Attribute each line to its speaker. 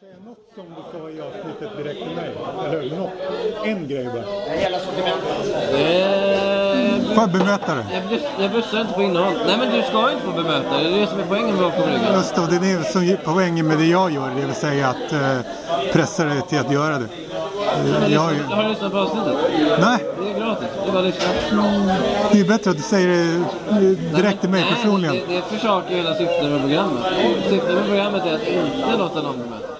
Speaker 1: något som du sa i avsnittet direkt till mig? Eller hur? Något, en grej bara.
Speaker 2: Hela sortimentet.
Speaker 3: Eh,
Speaker 4: Får jag bemöta dig?
Speaker 3: jag, bus- jag bussar inte på innehåll. Nej men du ska inte få bemöta. Det är det som är poängen med bakom ryggen.
Speaker 4: Just det, det är det som är poängen med det jag gör, det vill säga att eh, pressa dig till att göra det. Eh, Jag, har ju-
Speaker 3: Har du lyssnat på avsnittet?
Speaker 4: nej,
Speaker 3: Det är gratis. Det är bara att lyssna.
Speaker 4: det är bättre att du säger det eh,
Speaker 3: Nej,
Speaker 4: direkt till mig
Speaker 3: nej,
Speaker 4: personligen.
Speaker 3: Det, det försakar ju hela syftet med programmet. Syftet med programmet är att inte låta någon bemöta.